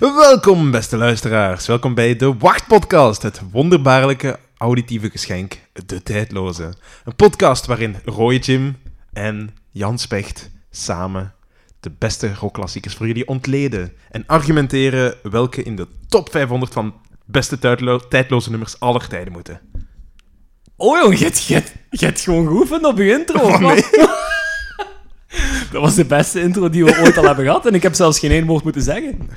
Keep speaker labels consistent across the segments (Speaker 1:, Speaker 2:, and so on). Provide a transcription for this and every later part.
Speaker 1: Welkom, beste luisteraars. Welkom bij de Wachtpodcast, het wonderbaarlijke auditieve geschenk De Tijdloze. Een podcast waarin Roy Jim en Jan Specht samen de beste rockklassiekers voor jullie ontleden en argumenteren welke in de top 500 van beste tijdlo- tijdloze nummers aller tijden moeten.
Speaker 2: Oh jong, je hebt- je hebt- je hebt gewoon geoefend op je intro. of wat? Dat was de beste intro die we ooit al hebben gehad. En ik heb zelfs geen één woord moeten zeggen.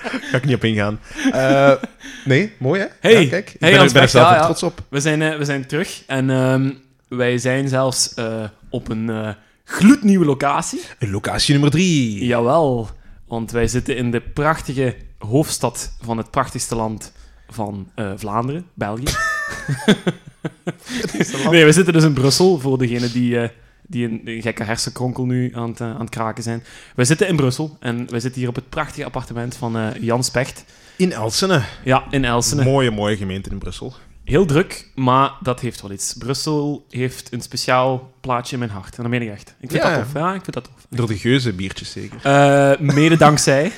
Speaker 1: Ga ik niet op ingaan. Eh, nee, mooi hè?
Speaker 2: Hey.
Speaker 1: Ja, kijk, ik
Speaker 2: Hey,
Speaker 1: ben,
Speaker 2: Jan
Speaker 1: er- ben er
Speaker 2: Specht,
Speaker 1: zelf
Speaker 2: ja,
Speaker 1: ook
Speaker 2: ja.
Speaker 1: trots op.
Speaker 2: We zijn, eh, we zijn terug en ehm, wij zijn zelfs eh, op een eh, gloednieuwe locatie.
Speaker 1: Locatie nummer 3.
Speaker 2: Jawel, want wij zitten in de prachtige hoofdstad van het prachtigste land van eh, Vlaanderen, België. Nee, we zitten dus in Brussel, voor degenen die, eh, die een, een gekke hersenkronkel nu aan het, eh, aan het kraken zijn. We zitten in Brussel en we zitten hier op het prachtige appartement van eh, Jan Specht.
Speaker 1: In Elsene.
Speaker 2: Ja, in Elsene.
Speaker 1: Mooie, mooie gemeente in Brussel.
Speaker 2: Heel druk, maar dat heeft wel iets. Brussel heeft een speciaal plaatsje in mijn hart. En dat meen ik echt. Ik vind
Speaker 1: Ja.
Speaker 2: dat tof. Ja, ik vind dat tof.
Speaker 1: Door de geuze biertjes zeker.
Speaker 2: Eh, mede dankzij.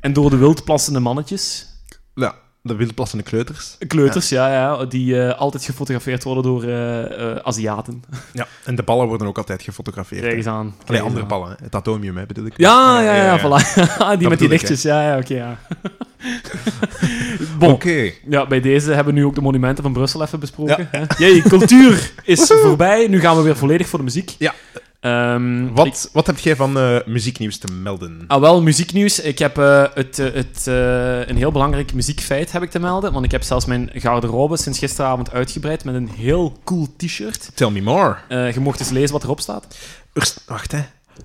Speaker 2: En door de wildplassende mannetjes.
Speaker 1: Ja, de wildplassende kleuters.
Speaker 2: Kleuters, ja, ja. die eh, altijd gefotografeerd worden door eh, eh, Aziaten.
Speaker 1: Ja, en de ballen worden ook altijd gefotografeerd.
Speaker 2: Kijk
Speaker 1: hè.
Speaker 2: eens aan. Kijk
Speaker 1: Allee,
Speaker 2: eens
Speaker 1: andere
Speaker 2: aan.
Speaker 1: ballen, hè. het atomium hè, bedoel ik.
Speaker 2: Ja, ja, ja, voilà. die met
Speaker 1: bedoel
Speaker 2: die
Speaker 1: ik,
Speaker 2: lichtjes. Ja, ja, oké, ja. bon.
Speaker 1: Oké.
Speaker 2: Ja, bij deze hebben we nu ook de monumenten van Brussel even besproken. hè. Jee, cultuur is voorbij. Nu gaan we weer volledig voor de muziek.
Speaker 1: Ja.
Speaker 2: Ehm, ik-
Speaker 1: Wat, wat heb jij van eh, muzieknieuws te melden?
Speaker 2: ah, wel, muzieknieuws. Ik heb eh, het, eh, het, eh, een heel belangrijk muziekfeit heb ik te melden. Want ik heb zelfs mijn garderobe sinds gisteravond uitgebreid met een heel cool t-shirt.
Speaker 1: Tell me more.
Speaker 2: Eh, je mocht eens lezen wat erop staat.
Speaker 1: Eerst- wacht hè.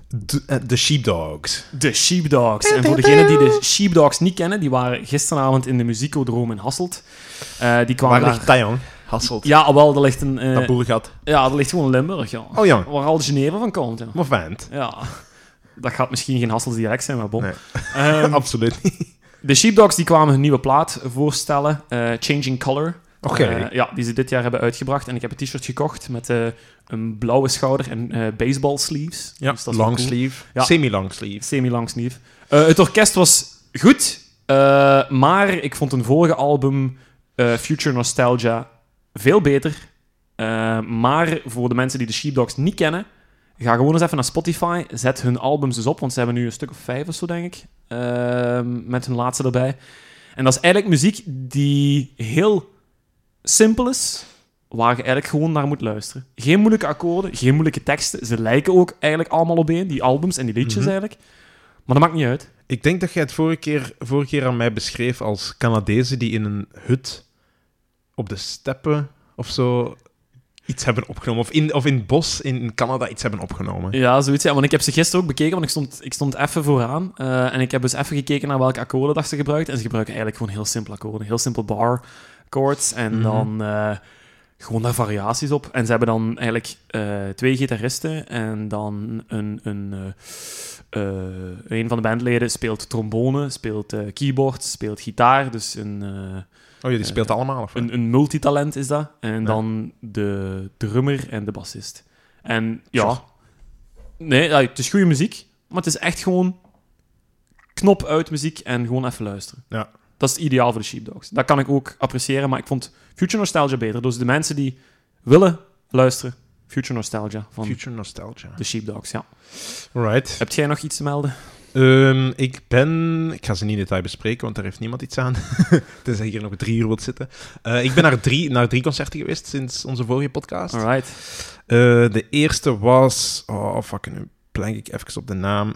Speaker 1: De, eh, de Sheepdogs.
Speaker 2: De Sheepdogs. En voor degenen die de Sheepdogs niet kennen, die waren gisteravond in de Muziekodroom in Hasselt. Eh, die kwamen
Speaker 1: Waar
Speaker 2: daar...
Speaker 1: ligt Tajon? Hasselt.
Speaker 2: Ja, al wel, daar ligt een... eh,
Speaker 1: Dat boerengat.
Speaker 2: ja, daar ligt gewoon Limburg, ja.
Speaker 1: Oh ja,
Speaker 2: Waar al Geneve van komt, ja.
Speaker 1: maar vent.
Speaker 2: Ja. Dat gaat misschien geen Hassels direct zijn, maar bon.
Speaker 1: Nee.
Speaker 2: Ehm,
Speaker 1: Absoluut niet.
Speaker 2: de Sheepdogs die kwamen hun nieuwe plaat voorstellen, eh, Changing Color.
Speaker 1: Oké.
Speaker 2: Eh, ja, die ze dit jaar hebben uitgebracht. En ik heb een t-shirt gekocht met eh, een blauwe schouder en eh baseball sleeves.
Speaker 1: ja,
Speaker 2: Dus dat is wel
Speaker 1: long
Speaker 2: cool.
Speaker 1: sleeve.
Speaker 2: Ja.
Speaker 1: Semi-long sleeve.
Speaker 2: Semi-lang sleeve. Eh, het orkest was goed, eh, maar ik vond hun vorige album, eh, Future Nostalgia, veel beter. Eh, maar voor de mensen die de Sheepdogs niet kennen, ga gewoon eens even naar Spotify. Zet hun albums dus op, want ze hebben nu een stuk of vijf of zo, denk ik. eh, met hun laatste erbij. En dat is eigenlijk muziek die heel simpel is, waar je eigenlijk gewoon naar moet luisteren. Geen moeilijke akkoorden, geen moeilijke teksten. Ze lijken ook eigenlijk allemaal op één, die albums en die liedjes eigenlijk. Maar dat maakt niet uit.
Speaker 1: Ik denk dat jij het vorige keer, vorige keer aan mij beschreef als Canadezen die in een hut op de steppen of zo iets hebben opgenomen. Of in, of in het bos in Canada iets hebben opgenomen.
Speaker 2: Ja, zoiets. Ja, want ik heb ze gisteren ook bekeken, want ik stond, ik stond even vooraan. eh, en ik heb dus even gekeken naar welke akkoorden dat ze gebruikt. En ze gebruiken eigenlijk gewoon heel simpele akkoorden. Heel simpel bar chords. En
Speaker 1: Mhm.
Speaker 2: dan eh, gewoon daar variaties op. En ze hebben dan eigenlijk eh, twee gitaristen. En dan een, een, eh, eh, een van de bandleden speelt trombone, speelt eh keyboard, speelt gitaar. Dus een... eh,
Speaker 1: Oh, jullie speelt allemaal, of wat?
Speaker 2: een, een multitalent is dat. En dan de drummer en de bassist. En ja,
Speaker 1: Sure.
Speaker 2: nee, ja, het is goede muziek, maar het is echt gewoon knop uit muziek en gewoon even luisteren.
Speaker 1: Ja.
Speaker 2: Dat is het ideaal voor de Sheepdogs. Dat kan ik ook appreciëren, maar ik vond Future Nostalgia beter. Dus de mensen die willen luisteren, Future Nostalgia van
Speaker 1: Future Nostalgia.
Speaker 2: de Sheepdogs, ja.
Speaker 1: Right.
Speaker 2: Heb jij nog iets te melden?
Speaker 1: Ehm, ik ben... Ik ga ze niet in detail bespreken, want daar heeft niemand iets aan. Tenzij je hier nog drie uur wilt zitten. Eh, ik ben naar drie, naar drie concerten geweest sinds onze vorige podcast.
Speaker 2: Alright.
Speaker 1: Eh, de eerste was... Oh, fuck, nu blank ik even op de naam.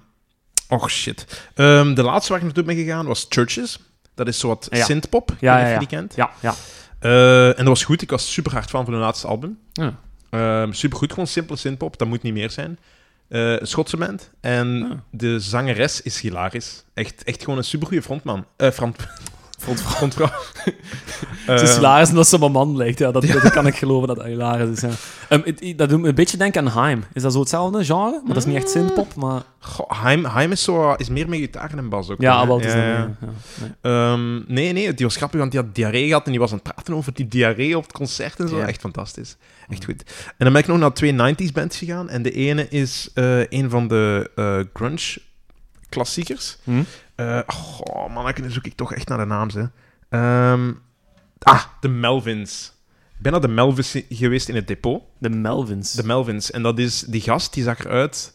Speaker 1: Och, shit. Ehm, de laatste waar ik naartoe ben gegaan was Churches. Dat is soort
Speaker 2: Ja.
Speaker 1: synthpop, ik
Speaker 2: Ja,
Speaker 1: weet niet
Speaker 2: ja,
Speaker 1: of je die kent.
Speaker 2: Ja, ja.
Speaker 1: Eh, en dat was goed. Ik was super hard fan van hun laatste album.
Speaker 2: Ja.
Speaker 1: Ehm, super goed, gewoon simpele synthpop. Dat moet niet meer zijn. Eh Schotse band. En
Speaker 2: Ah.
Speaker 1: de zangeres is hilarisch. Echt, echt gewoon een supergoeie frontman. Eh front... Frontvrouw.
Speaker 2: Het is
Speaker 1: Ehm,
Speaker 2: hilarisch omdat ze op een man lijkt. Ja, dat, dat kan ik geloven dat dat hilarisch is. Ja. Ehm, het- het- dat doet me een beetje denken aan Heim. Is dat zo hetzelfde genre? Maar dat is niet echt synthpop, maar...
Speaker 1: goh, Haim, Haim is, zo, is meer met gitaar en bas ook.
Speaker 2: Ja,
Speaker 1: hè?
Speaker 2: wel, het is
Speaker 1: Ja,
Speaker 2: dat,
Speaker 1: ja.
Speaker 2: ja, ja, nee.
Speaker 1: Ehm, nee, nee, die was grappig, want die had diarree gehad en die was aan het praten over die diarree op het concert en zo.
Speaker 2: Ja.
Speaker 1: Echt fantastisch. Echt goed. En dan ben ik nog naar twee 90s bands gegaan en de ene is eh, een van de eh, grunge klassiekers.
Speaker 2: Hm?
Speaker 1: Eh oh, manneke, dan zoek ik toch echt naar de naam, ze. Ehm, ah, de Melvins. Ik ben naar de Melvins geweest in het depot.
Speaker 2: De Melvins.
Speaker 1: De Melvins. En dat is die gast, die zag eruit.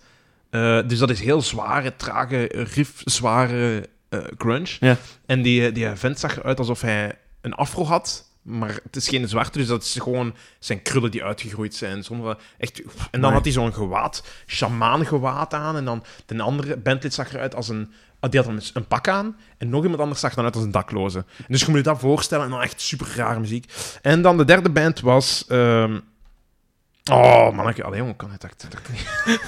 Speaker 1: eh, dus dat is heel zware, trage, riffzware eh grunge.
Speaker 2: Ja.
Speaker 1: En die, eh, die vent zag eruit alsof hij een afro had. Maar het is geen zwarte, dus dat is gewoon zijn krullen die uitgegroeid zijn. Zonder, echt, en dan
Speaker 2: Nee.
Speaker 1: had hij zo'n gewaad, shamaangewaad aan. En dan de andere bandlid zag eruit als een... ah, Die had dan een pak aan. En nog iemand anders zag dan uit als een dakloze. En dus je moet je dat voorstellen. En dan echt super rare muziek. En dan de derde band was... ehm, Oh, manneke. Allee, jongen, kan het? Dat, dat,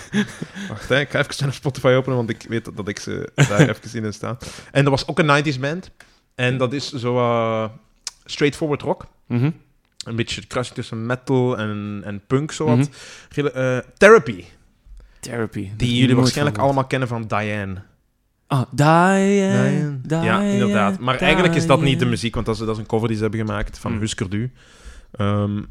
Speaker 1: Wacht, hè, ik ga even snel Spotify openen, want ik weet dat, dat ik ze daar even in sta. En dat was ook een 90s band.
Speaker 2: Mm.
Speaker 1: En dat is zo eh, straightforward rock.
Speaker 2: Mhm.
Speaker 1: Een beetje het kruising tussen metal en, en punk, zowat.
Speaker 2: Mhm.
Speaker 1: Gele- eh, Therapy,
Speaker 2: Therapy.
Speaker 1: die jullie waarschijnlijk allemaal kennen van Diane.
Speaker 2: Ah, Diane.
Speaker 1: ja,
Speaker 2: Diane,
Speaker 1: inderdaad. Maar eigenlijk is dat niet de
Speaker 2: Diane.
Speaker 1: muziek, want dat is, dat is een cover die ze hebben gemaakt van
Speaker 2: Mm.
Speaker 1: Husker Du. Ehm,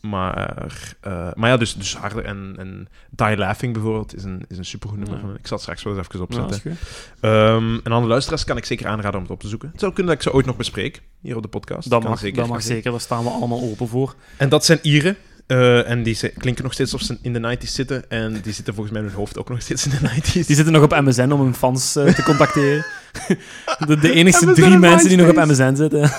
Speaker 1: maar, eh, maar ja, dus, dus harder. En, en Die Laughing bijvoorbeeld is een, is een supergoed nummer.
Speaker 2: Ja.
Speaker 1: van- Ik zal het straks wel eens even
Speaker 2: Ja, dat
Speaker 1: opzetten.
Speaker 2: is goed.
Speaker 1: Ehm, en aan de luisteraars kan ik zeker aanraden om het op te zoeken. Het zou kunnen dat ik ze ooit nog bespreek, hier op de podcast.
Speaker 2: Dat
Speaker 1: Kan
Speaker 2: mag
Speaker 1: zeker.
Speaker 2: zeker. Dat mag zeker. Daar staan we allemaal open voor.
Speaker 1: En dat zijn Ieren. eh, en die ze- klinken nog steeds of ze in de 90s zitten. En die zitten volgens mij in hun hoofd ook nog steeds in de 90s.
Speaker 2: Die zitten nog op MSN om hun fans eh, te contacteren. De, de enigste
Speaker 1: MSN
Speaker 2: drie
Speaker 1: en
Speaker 2: mensen die nog op
Speaker 1: MySpace.
Speaker 2: MSN zitten.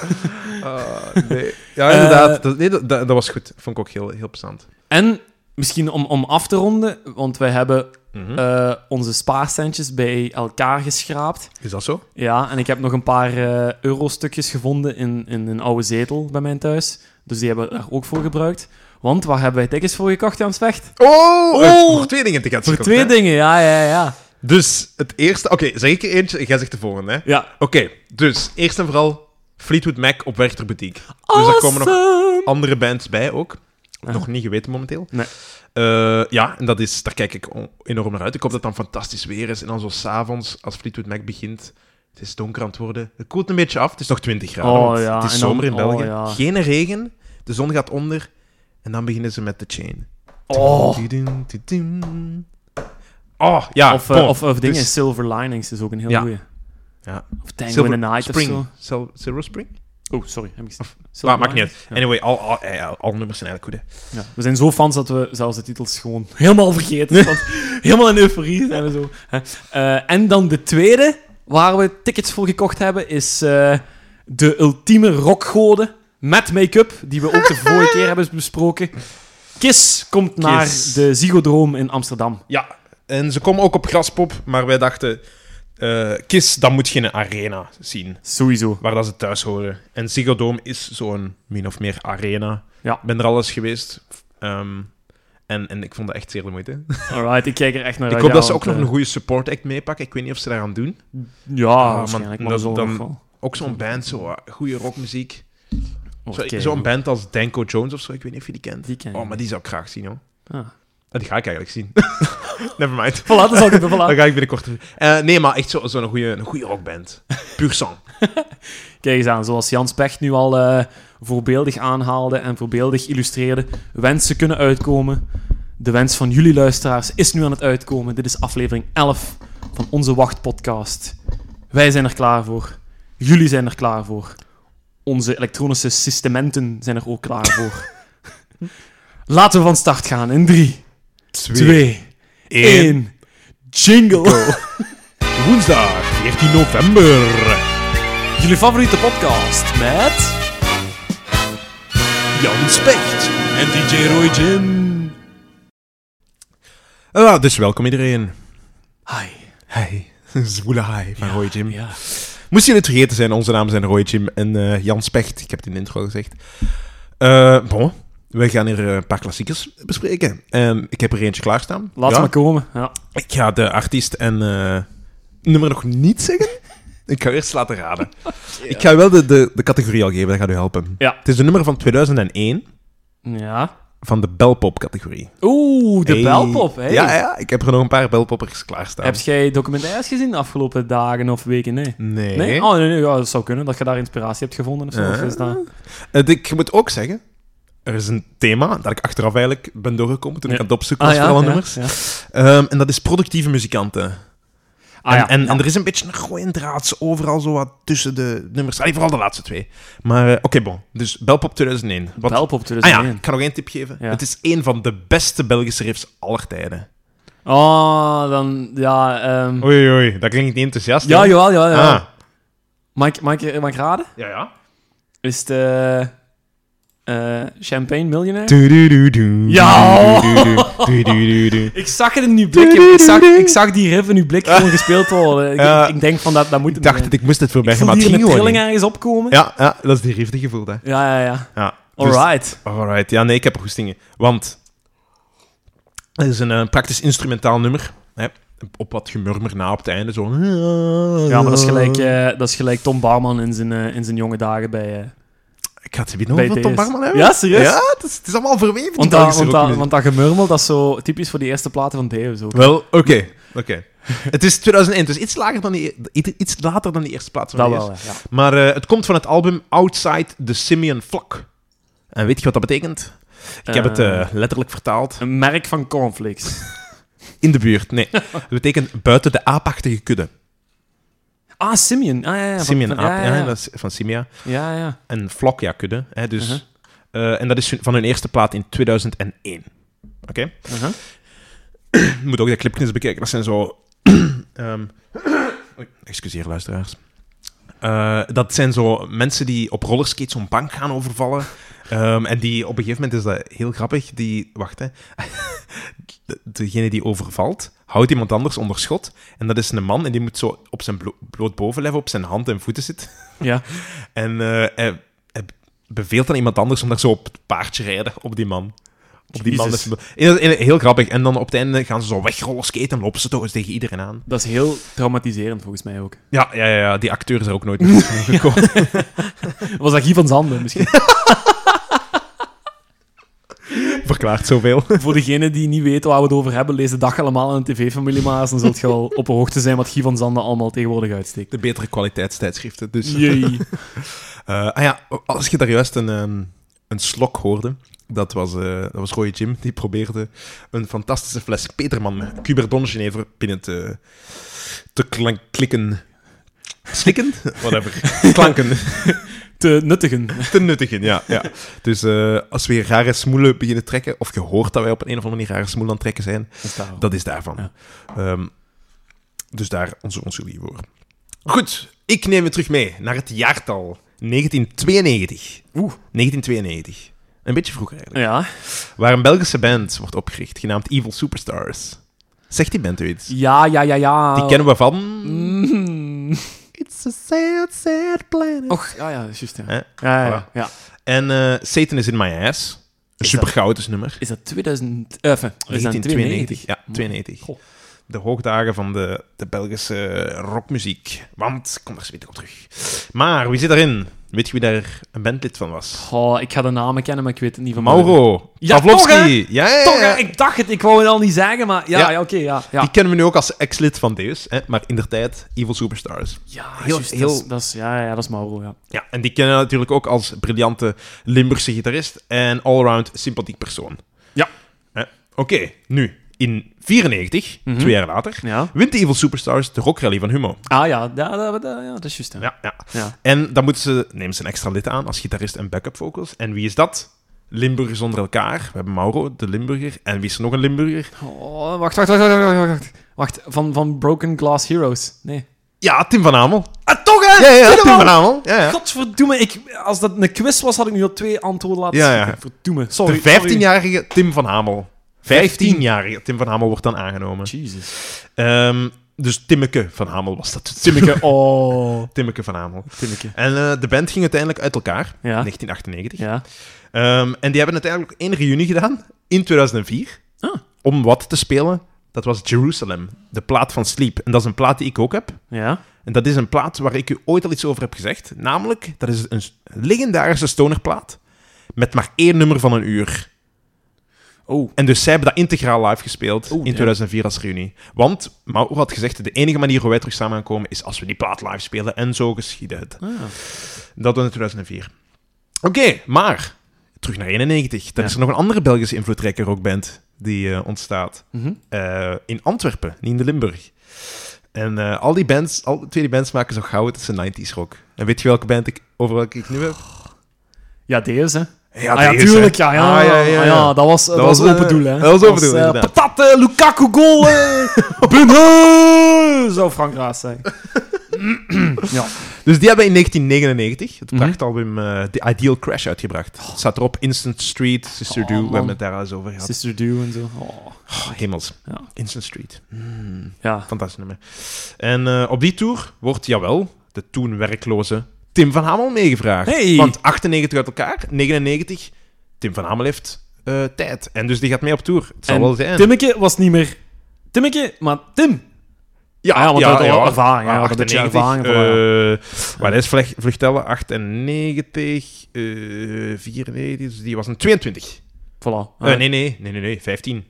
Speaker 1: Ah, nee. Eh, Ja, inderdaad. dat, nee, dat, dat, dat was goed. Vond ik ook heel, heel plezant.
Speaker 2: En misschien om, om af te ronden, want wij hebben
Speaker 1: Mhm.
Speaker 2: eh, onze spaarcentjes bij elkaar geschraapt.
Speaker 1: Is dat zo?
Speaker 2: Ja, en ik heb nog een paar euro eurostukjes gevonden in, in een oude zetel bij mijn thuis. Dus die hebben we daar ook voor gebruikt. Want waar hebben wij tickets voor gekocht, Jans Vecht?
Speaker 1: Oh!
Speaker 2: Oh!
Speaker 1: eh, Voor twee dingen te gaan
Speaker 2: Voor twee dingen, ja, ja, ja.
Speaker 1: Dus het eerste... Oké, zeg ik er eentje. Jij zegt de volgende, hè.
Speaker 2: Ja.
Speaker 1: Oké, dus eerst en vooral Fleetwood Mac op Werchter Boutique.
Speaker 2: Awesome!
Speaker 1: Dus daar komen nog andere bands bij ook. Nog niet geweten momenteel.
Speaker 2: Ah. Nee.
Speaker 1: Eh, ja, en dat is, daar kijk ik o- enorm naar uit. Ik hoop dat het dan fantastisch weer is. En dan zo s'avonds, als Fleetwood Mac begint, het is donker aan het worden. Het koelt een beetje af, het is nog 20 graden.
Speaker 2: Oh
Speaker 1: want
Speaker 2: ja,
Speaker 1: het is
Speaker 2: en dan-
Speaker 1: zomer in
Speaker 2: oh
Speaker 1: België.
Speaker 2: ja.
Speaker 1: Geen regen, de zon gaat onder. En dan beginnen ze met The Chain.
Speaker 2: Oh.
Speaker 1: Tudum, tudum. Oh, ja.
Speaker 2: Of, eh,
Speaker 1: bon.
Speaker 2: of, of dingen,
Speaker 1: Dus-
Speaker 2: Silver Linings is ook een heel
Speaker 1: Ja.
Speaker 2: goeie.
Speaker 1: Ja.
Speaker 2: Of Tango
Speaker 1: Silver
Speaker 2: in the Night
Speaker 1: Spring.
Speaker 2: of
Speaker 1: Sil- Silver Spring?
Speaker 2: zo. Oh, sorry. Heb ik... Silver
Speaker 1: Maar maakt niet
Speaker 2: Linings?
Speaker 1: uit.
Speaker 2: Ja.
Speaker 1: Anyway, al, al, eh, al nummers zijn eigenlijk goed, hè.
Speaker 2: Ja, we zijn zo fans dat we zelfs de titels gewoon helemaal vergeten. Want helemaal in euforie zijn we zo. hè. Eh, en dan de tweede, waar we tickets voor gekocht hebben, is eh, de ultieme rockgode met make-up, die we ook de vorige keer hebben besproken. Kiss komt naar
Speaker 1: Kiss.
Speaker 2: de Zigodroom in Amsterdam.
Speaker 1: Ja, en ze komen ook op Graspop, maar wij dachten... eh Kiss, dat moet geen arena zien,
Speaker 2: Sowieso.
Speaker 1: waar dat ze thuis horen. En Ziggo Dome is zo'n min of meer arena.
Speaker 2: Ja.
Speaker 1: Ik ben er al eens geweest. ehm, en, en ik vond dat echt zeer de moeite.
Speaker 2: Alright, ik kijk er echt naar
Speaker 1: ik
Speaker 2: uit.
Speaker 1: hoop
Speaker 2: ja,
Speaker 1: dat ze ook
Speaker 2: want,
Speaker 1: nog
Speaker 2: eh,
Speaker 1: een goede support act meepakken. Ik weet niet of ze daaraan doen.
Speaker 2: Ja,
Speaker 1: Ah, man,
Speaker 2: waarschijnlijk. Maar
Speaker 1: dat-
Speaker 2: zo
Speaker 1: dan-
Speaker 2: nog wel.
Speaker 1: Ook zo'n band, zo, eh, goede rockmuziek. Zo-
Speaker 2: Oké,
Speaker 1: Zo'n
Speaker 2: goed.
Speaker 1: band als Danko Jones of zo, ik weet niet of je die kent.
Speaker 2: Die ken ik
Speaker 1: oh, maar die zou ik graag zien, hoor.
Speaker 2: Ah.
Speaker 1: Eh, Die ga ik eigenlijk zien. Never mind.
Speaker 2: Voilà, dat zal ik voilà.
Speaker 1: Dan ga ik binnenkort... Eh, nee, maar echt zo'n zo zo'n goede een goede rockband. Puur sang.
Speaker 2: Kijk eens aan, zoals Jans Pecht nu al eh, voorbeeldig aanhaalde en voorbeeldig illustreerde, wensen kunnen uitkomen. De wens van jullie luisteraars is nu aan het uitkomen. Dit is aflevering 11 van onze Wachtpodcast. Wij zijn er klaar voor. Jullie zijn er klaar voor. Onze elektronische systementen zijn er ook klaar voor. Laten we van start gaan in 3, 2, 1, jingle!
Speaker 1: Woensdag, 14 november.
Speaker 2: Jullie favoriete podcast met...
Speaker 1: Jan Specht.
Speaker 2: En DJ Roy Jim.
Speaker 1: Ah, dus welkom iedereen.
Speaker 2: Hi.
Speaker 1: Hi. Zwoele hi van Roy Jim.
Speaker 2: Ja.
Speaker 1: Moest jullie het vergeten zijn, onze namen zijn Roy Jim en eh, Jan Specht. Ik heb het in de intro al gezegd. Eh, bon, we gaan hier eh, een paar klassiekers bespreken. En ik heb er eentje klaarstaan.
Speaker 2: Laat
Speaker 1: Ja.
Speaker 2: ze maar komen. Ja.
Speaker 1: Ik ga de artiest en eh, nummer nog niet zeggen. Ik ga eerst laten raden. Ik ga wel de, de, de categorie al geven, dat gaat u helpen.
Speaker 2: Ja.
Speaker 1: Het is een nummer van 2001
Speaker 2: ja.
Speaker 1: van de belpop-categorie.
Speaker 2: Oeh, de
Speaker 1: Hey.
Speaker 2: belpop. Hey.
Speaker 1: Ja, ja, ik heb er nog een paar belpoppers klaarstaan.
Speaker 2: Heb jij documentaires gezien de afgelopen dagen of weken? Nee.
Speaker 1: Nee.
Speaker 2: Nee? Oh, nee, nee. Ja, dat zou kunnen, dat je daar inspiratie hebt gevonden of zo. Of
Speaker 1: Eh.
Speaker 2: is dat...
Speaker 1: Het- ik moet ook zeggen, er is een thema dat ik achteraf eigenlijk ben doorgekomen toen ik
Speaker 2: Ah, Ja.
Speaker 1: aan het opzoeken was voor alle nummers.
Speaker 2: ja.
Speaker 1: Ehm, en dat is productieve muzikanten.
Speaker 2: Ah,
Speaker 1: en,
Speaker 2: ja.
Speaker 1: en, en er is een beetje een gooien draads overal zo wat tussen de nummers. Allee, vooral de laatste twee. Maar eh, oké, bon. Dus Belpop 2001. Wat,
Speaker 2: Belpop
Speaker 1: ah ja,
Speaker 2: 2001.
Speaker 1: ik ga nog één tip geven.
Speaker 2: Ja.
Speaker 1: Het is één van de beste Belgische riffs aller tijden.
Speaker 2: Oh, dan... Ja, ehm
Speaker 1: Oei, oei, dat klinkt niet enthousiast.
Speaker 2: ja
Speaker 1: hè?
Speaker 2: jawel, jawel. jawel.
Speaker 1: Oh, Ah.
Speaker 2: Mag, ik, mag, ik, mag ik raden?
Speaker 1: Ja, ja.
Speaker 2: Is het... eh, eh, Champagne Millionaire? Ja.
Speaker 1: Ja!
Speaker 2: Ik zag het in uw blik. Ik zag, ik zag die riff in uw blik gewoon gespeeld worden. Ik,
Speaker 1: Ah. Ja.
Speaker 2: ik denk van, dat, dat moet
Speaker 1: Ik dacht dat ik moest dit voorbij
Speaker 2: ik
Speaker 1: gaan,
Speaker 2: voelde
Speaker 1: maar het
Speaker 2: hier een
Speaker 1: ging gewoon niet.
Speaker 2: trilling ergens opkomen.
Speaker 1: Ja, ja, dat is die riff die je voelt, hè.
Speaker 2: Ja, ja, ja.
Speaker 1: Ja. Dus-
Speaker 2: Alright.
Speaker 1: Alright, ja, nee, ik heb er goestingen. Want het is een eh, praktisch instrumentaal nummer. Hè, op wat gemurmer na op het einde. Zo.
Speaker 2: Ja, maar dat is gelijk, eh, dat is gelijk Tom Barman in zijn, eh, in zijn jonge dagen bij, eh
Speaker 1: Ik ga het weer nog
Speaker 2: bij
Speaker 1: over
Speaker 2: DS.
Speaker 1: Tom Barman hebben.
Speaker 2: Ja, serieus?
Speaker 1: Ja, het is, het is allemaal verweven. die
Speaker 2: Want, dat,
Speaker 1: Belgische
Speaker 2: want, dat,
Speaker 1: rockmuziek.
Speaker 2: want dat gemurmel, dat is zo typisch voor die eerste platen van Deus ook.
Speaker 1: Wel, oké. oké. het is 2001, dus iets lager dan die, i- iets later dan die eerste plaats. van
Speaker 2: Dat
Speaker 1: de
Speaker 2: wel,
Speaker 1: eerste.
Speaker 2: hè, ja.
Speaker 1: Maar eh, het komt van het album Outside the Simeon Flock. En weet je wat dat betekent? Ik heb het
Speaker 2: Eh,
Speaker 1: eh, letterlijk vertaald.
Speaker 2: Een merk van cornflakes.
Speaker 1: In de buurt, nee. Het betekent buiten de aapachtige kudde.
Speaker 2: Ah, Simeon. Ah, ja, ja. van-
Speaker 1: Simeon
Speaker 2: van-
Speaker 1: aap,
Speaker 2: ja,
Speaker 1: ja,
Speaker 2: ja, ja.
Speaker 1: dat is van Simia.
Speaker 2: Ja, ja.
Speaker 1: En Flock, ja, kudde. Hè, dus,
Speaker 2: Mhm.
Speaker 1: eh, en dat is hun- van hun eerste plaat in 2001. Oké?
Speaker 2: Uh-huh.
Speaker 1: Je moet ook de clipjes bekijken. Dat zijn zo... ehm, oei, excuseer, luisteraars. Eh, dat zijn zo mensen die op rollerskates zo'n bank gaan overvallen. Ehm, en die op een gegeven moment is dat heel grappig. Die, wacht hè. De- Degene die overvalt, houdt iemand anders onder schot. En dat is een man en die moet zo op zijn blo- bloot bovenlijf, op zijn hand en voeten zitten.
Speaker 2: Ja.
Speaker 1: En eh, hij, hij beveelt aan iemand anders om daar zo op het paardje rijden, op die man. Op die man.
Speaker 2: Jezus.
Speaker 1: is- Heel, heel- heel grappig. En dan op het einde gaan ze zo wegrollen skaten en lopen ze toch eens tegen iedereen aan.
Speaker 2: Dat is heel traumatiserend volgens mij ook.
Speaker 1: Ja, ja, ja, ja, die acteur is er ook nooit meer gekomen.
Speaker 2: Was dat Guy van Zanden misschien?
Speaker 1: Verklaart zoveel.
Speaker 2: Voor degenen die niet weten waar we het over hebben, lees de dag allemaal in de tv-familie maar. eens, Dan zult je wel op de hoogte zijn wat Guy van Zanden allemaal tegenwoordig uitsteekt.
Speaker 1: De betere kwaliteitstijdschriften. Dus,
Speaker 2: Jee.
Speaker 1: eh, ah ja, als je daar juist een, ehm, een slok hoorde, dat was, eh dat was Roy Jim, die probeerde een fantastische fles Peterman Cuberdon Genever binnen te, te klank, klikken. Slikken? Whatever. Klanken.
Speaker 2: Te nuttigen.
Speaker 1: te nuttigen, ja. ja. Dus eh, als we hier rare smoelen beginnen trekken, of je hoort dat wij op een, of andere manier rare smoelen aan het trekken zijn,
Speaker 2: Dat is daar.
Speaker 1: dat is daarvan.
Speaker 2: Ja.
Speaker 1: Ehm, dus daar onze onschuldige voor. Goed, ik neem het terug mee naar het jaartal 1992.
Speaker 2: Oeh.
Speaker 1: 1992. Een beetje vroeger eigenlijk.
Speaker 2: Ja.
Speaker 1: Waar een Belgische band wordt opgericht, genaamd Evil Superstars. Zegt die band u iets?
Speaker 2: Ja, ja, ja, ja.
Speaker 1: Die kennen we van...
Speaker 2: Mm.
Speaker 1: It's a sad, sad planet.
Speaker 2: Och, ja, ja, dat is juist. Ja.
Speaker 1: Hè?
Speaker 2: Ja, ja, ja,
Speaker 1: Voilà.
Speaker 2: ja.
Speaker 1: En eh, Satan is in my ass. Een
Speaker 2: dat-
Speaker 1: supergouders nummer.
Speaker 2: Is dat 2000... eh, enfin, is dat
Speaker 1: 1992.
Speaker 2: 92?
Speaker 1: Ja, 92.
Speaker 2: Goh.
Speaker 1: De hoogdagen van de, de Belgische rockmuziek. Want, ik kom daar zometeen op terug. Maar, wie zit daarin? Weet je wie daar een bandlid van was?
Speaker 2: Goh, ik ga de namen kennen, maar ik weet het niet van buiten.
Speaker 1: Mauro.
Speaker 2: Ja,
Speaker 1: Pavlovski.
Speaker 2: toch, hè?
Speaker 1: ja, ja, ja.
Speaker 2: Toch, hè? ik dacht het. Ik wou het al niet zeggen, maar ja,
Speaker 1: Ja.
Speaker 2: ja. oké, ja. ja.
Speaker 1: Die kennen we nu ook als ex-lid van Deus. Hè? Maar in der tijd Evil Superstars.
Speaker 2: Ja,
Speaker 1: Heel-
Speaker 2: juist,
Speaker 1: heel-
Speaker 2: Dat is, dat is- ja, ja, ja, dat is Mauro, ja.
Speaker 1: Ja, en die kennen we natuurlijk ook als briljante Limburgse gitarist. En allround sympathiek persoon.
Speaker 2: Ja.
Speaker 1: Hè? Oké, nu. In 94,
Speaker 2: Mhm.
Speaker 1: twee jaar later,
Speaker 2: Ja?
Speaker 1: wint de Evil Superstars de rockrally van Humo.
Speaker 2: Ah ja, da, da, da- ja dat is juist. hè.
Speaker 1: Ja, ja.
Speaker 2: Ja.
Speaker 1: En dan moeten ze, nemen ze een extra lid aan als gitarist en backup vocals. En wie is dat? Limburgers onder elkaar. We hebben Mauro, de Limburger. En wie is er nog een Limburger?
Speaker 2: Oh, wacht, wacht, wacht, wacht, wacht, wacht, wacht. Wacht, van, van Broken Glass Heroes. Nee.
Speaker 1: Ja, Tim van Amel.
Speaker 2: Ah, toch hè?
Speaker 1: Ja, ja, Tim
Speaker 2: Helemaal.
Speaker 1: van Amel. Ja, ja.
Speaker 2: Godverdomme, ik, als dat een quiz was, had ik nu al twee antwoorden laten
Speaker 1: Ja, ja.
Speaker 2: zien. Verdomme, sorry.
Speaker 1: De 15-jarige Tim van Amel. 15-jarige Tim van Amel wordt dan aangenomen.
Speaker 2: Jesus.
Speaker 1: Ehm, dus Timmeke van Amel was dat.
Speaker 2: Timmeke, oh.
Speaker 1: Timmeke van Amel.
Speaker 2: Timmeke.
Speaker 1: En eh, de band ging uiteindelijk uit elkaar.
Speaker 2: Ja.
Speaker 1: 1998.
Speaker 2: Ja.
Speaker 1: Ehm, en die hebben uiteindelijk één reunie gedaan in 2004.
Speaker 2: Ah.
Speaker 1: Om wat te spelen. Dat was Jerusalem, de plaat van Sleep. En dat is een plaat die ik ook heb.
Speaker 2: Ja.
Speaker 1: En dat is een plaat waar ik u ooit al iets over heb gezegd. Namelijk, dat is een s- legendarische stonerplaat. Met maar één nummer van een uur.
Speaker 2: Oh.
Speaker 1: En dus zij hebben dat integraal live gespeeld
Speaker 2: Oeh,
Speaker 1: in
Speaker 2: ja.
Speaker 1: 2004 als reunie. Want Mauro had gezegd, de enige manier hoe wij terug samen gaan komen is als we die plaat live spelen. En zo geschiedde het.
Speaker 2: Ah.
Speaker 1: Dat was in 2004. Oké, maar terug naar 91. Dan
Speaker 2: Ja.
Speaker 1: is er nog een andere Belgische invloedrijke rockband die eh, ontstaat.
Speaker 2: Mhm.
Speaker 1: Eh, in Antwerpen, niet in de Limburg. En eh, al die bands, al twee die bands maken zo gauw het is een 90s rock. En weet je welke band ik over welke ik nu heb?
Speaker 2: Ja, deze.
Speaker 1: Ja,
Speaker 2: ah, ja,
Speaker 1: deze.
Speaker 2: tuurlijk. Ja, ja,
Speaker 1: Ah,
Speaker 2: ja, ja,
Speaker 1: ja.
Speaker 2: dat was, dat
Speaker 1: was,
Speaker 2: was open
Speaker 1: eh,
Speaker 2: doel, hè.
Speaker 1: dat was open doel,
Speaker 2: eh,
Speaker 1: inderdaad.
Speaker 2: patat, eh, Lukaku, goal, eh, Bunho! Zou Frank Raas zijn. ja.
Speaker 1: Dus die hebben in 1999 het
Speaker 2: Mhm.
Speaker 1: prachtalbum eh, The Ideal Crash uitgebracht. Het staat erop Instant Street, Sister
Speaker 2: Oh,
Speaker 1: Do. We
Speaker 2: man.
Speaker 1: hebben het daar al eens over gehad.
Speaker 2: Sister Dew en zo. Oh.
Speaker 1: Oh, hemels.
Speaker 2: Ja.
Speaker 1: Instant Street. Mm,
Speaker 2: Ja.
Speaker 1: fantastisch nummer. En eh, op die tour wordt, jawel, de toen werkloze Tim van Hamel meegevraagd.
Speaker 2: Hey.
Speaker 1: Want 98 uit elkaar, 99, Tim van Hamel heeft eh, tijd. En dus die gaat mee op tour. Het zal
Speaker 2: En
Speaker 1: wel zijn.
Speaker 2: Timmeke was niet meer... Timmeke, maar Tim. Ah, ja, want hij had al ervaring, hij had een beetje
Speaker 1: 98,
Speaker 2: ervaring
Speaker 1: eh,
Speaker 2: voor,
Speaker 1: Maar hij is vlech- vluchtellen 98, eh 94, dus die was een 22.
Speaker 2: Voilà. Ah,
Speaker 1: Eh, nee, nee, nee, nee, nee, 15.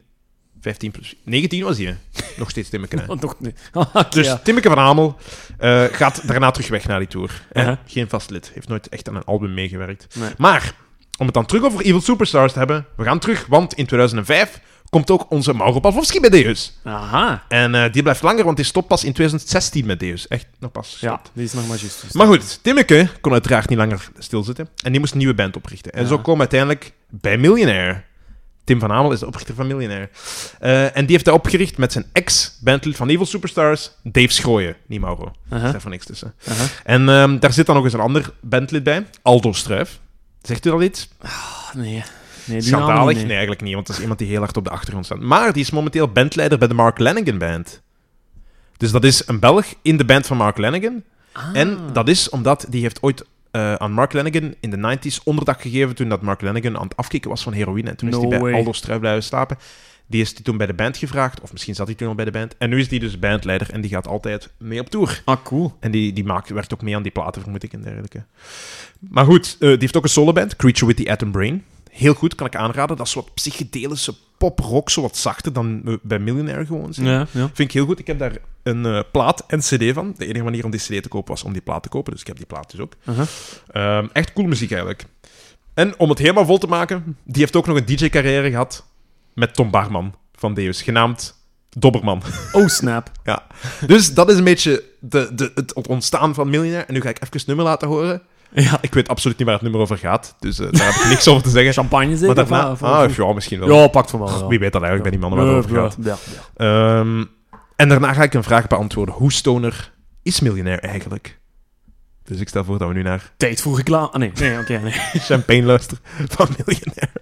Speaker 1: 15 plus 19 was hij. hè. Nog steeds Timmeke. hè.
Speaker 2: Nog niet. Ah, Oké,
Speaker 1: Dus
Speaker 2: ja.
Speaker 1: Timmeke van Hamel eh, gaat daarna terug weg naar die tour. Eh,
Speaker 2: Uh-huh.
Speaker 1: Geen vast lid. Heeft nooit echt aan een album meegewerkt.
Speaker 2: Nee.
Speaker 1: Maar, om het dan terug over Evil Superstars te hebben, we gaan terug, want in 2005 komt ook onze Mauro Pavlovski bij Deus.
Speaker 2: Aha.
Speaker 1: En eh, die blijft langer, want die stopt pas in 2016 met Deus. Echt, nog pas.
Speaker 2: Ja, die is nog maar juist.
Speaker 1: Maar goed, Timmeke kon uiteraard niet langer stilzitten. En die moest een nieuwe band oprichten. En
Speaker 2: Ja.
Speaker 1: zo kwam uiteindelijk bij Millionaire. Tim van Hamel is de oprichter van Millionaire. Eh, en die heeft hij opgericht met zijn ex-bandlid van Evil Superstars, Dave Schrooien. Niet Mauro. Er
Speaker 2: Aha.
Speaker 1: staat van niks tussen.
Speaker 2: Aha.
Speaker 1: En ehm, daar zit dan nog eens een ander bandlid bij, Aldo Struif. Zegt u dat iets?
Speaker 2: Ah, Nee. nee die namen
Speaker 1: Schandalig?
Speaker 2: niet,
Speaker 1: Nee. eigenlijk niet, want dat is iemand die heel hard op de achtergrond staat. Maar die is momenteel bandleider bij de Mark Lanigan Band. Dus dat is een Belg in de band van Mark Lanigan.
Speaker 2: Ah.
Speaker 1: En dat is omdat die heeft ooit eh, aan Mark Lanigan in de 90s onderdak gegeven toen dat Mark Lanigan aan het afkicken was van heroïne. En toen is
Speaker 2: No
Speaker 1: hij bij
Speaker 2: way.
Speaker 1: Aldo Struif blijven slapen. Die is die toen bij de band gevraagd, of misschien zat hij toen al bij de band. En nu is die dus bandleider en die gaat altijd mee op tour.
Speaker 2: Ah, cool.
Speaker 1: En die, die maakt, werkt ook mee aan die platen, vermoed ik, en dergelijke. Maar goed, eh, die heeft ook een soloband, Creature with the Atom Brain. Heel goed, kan ik aanraden. Dat is wat psychedelische pop-rock, zo wat zachter dan eh, bij Millionaire gewoon. zeg.
Speaker 2: Ja, ja.
Speaker 1: Vind ik heel goed. Ik heb daar een eh, plaat en cd van. De enige manier om die cd te kopen was om die plaat te kopen. Dus ik heb die plaat dus ook.
Speaker 2: Aha.
Speaker 1: Ehm, echt cool muziek eigenlijk. En om het helemaal vol te maken, die heeft ook nog een DJ-carrière gehad met Tom Barman van Deus, genaamd Dobberman.
Speaker 2: Oh, snap.
Speaker 1: ja. Dus dat is een beetje de, de, het ontstaan van Millionaire. En nu ga ik even het nummer laten horen.
Speaker 2: Ja.
Speaker 1: Ik weet absoluut niet waar het nummer over gaat, dus eh, daar heb ik niks over te zeggen.
Speaker 2: Champagne zeker?
Speaker 1: Maar daarna...
Speaker 2: Of- of-
Speaker 1: Ah, ja, misschien wel.
Speaker 2: Ja, pakt voor wel. ja.
Speaker 1: Wie weet dat eigenlijk bij die mannen waar
Speaker 2: Ja,
Speaker 1: het over gaat.
Speaker 2: ja, ja.
Speaker 1: Ehm, en daarna ga ik een vraag beantwoorden. Hoe stoner is miljonair eigenlijk? Dus ik stel voor dat we nu naar
Speaker 2: Tijd voor reclame. Ah, nee. Nee, oké. nee.
Speaker 1: Champagne luisteren van miljonair.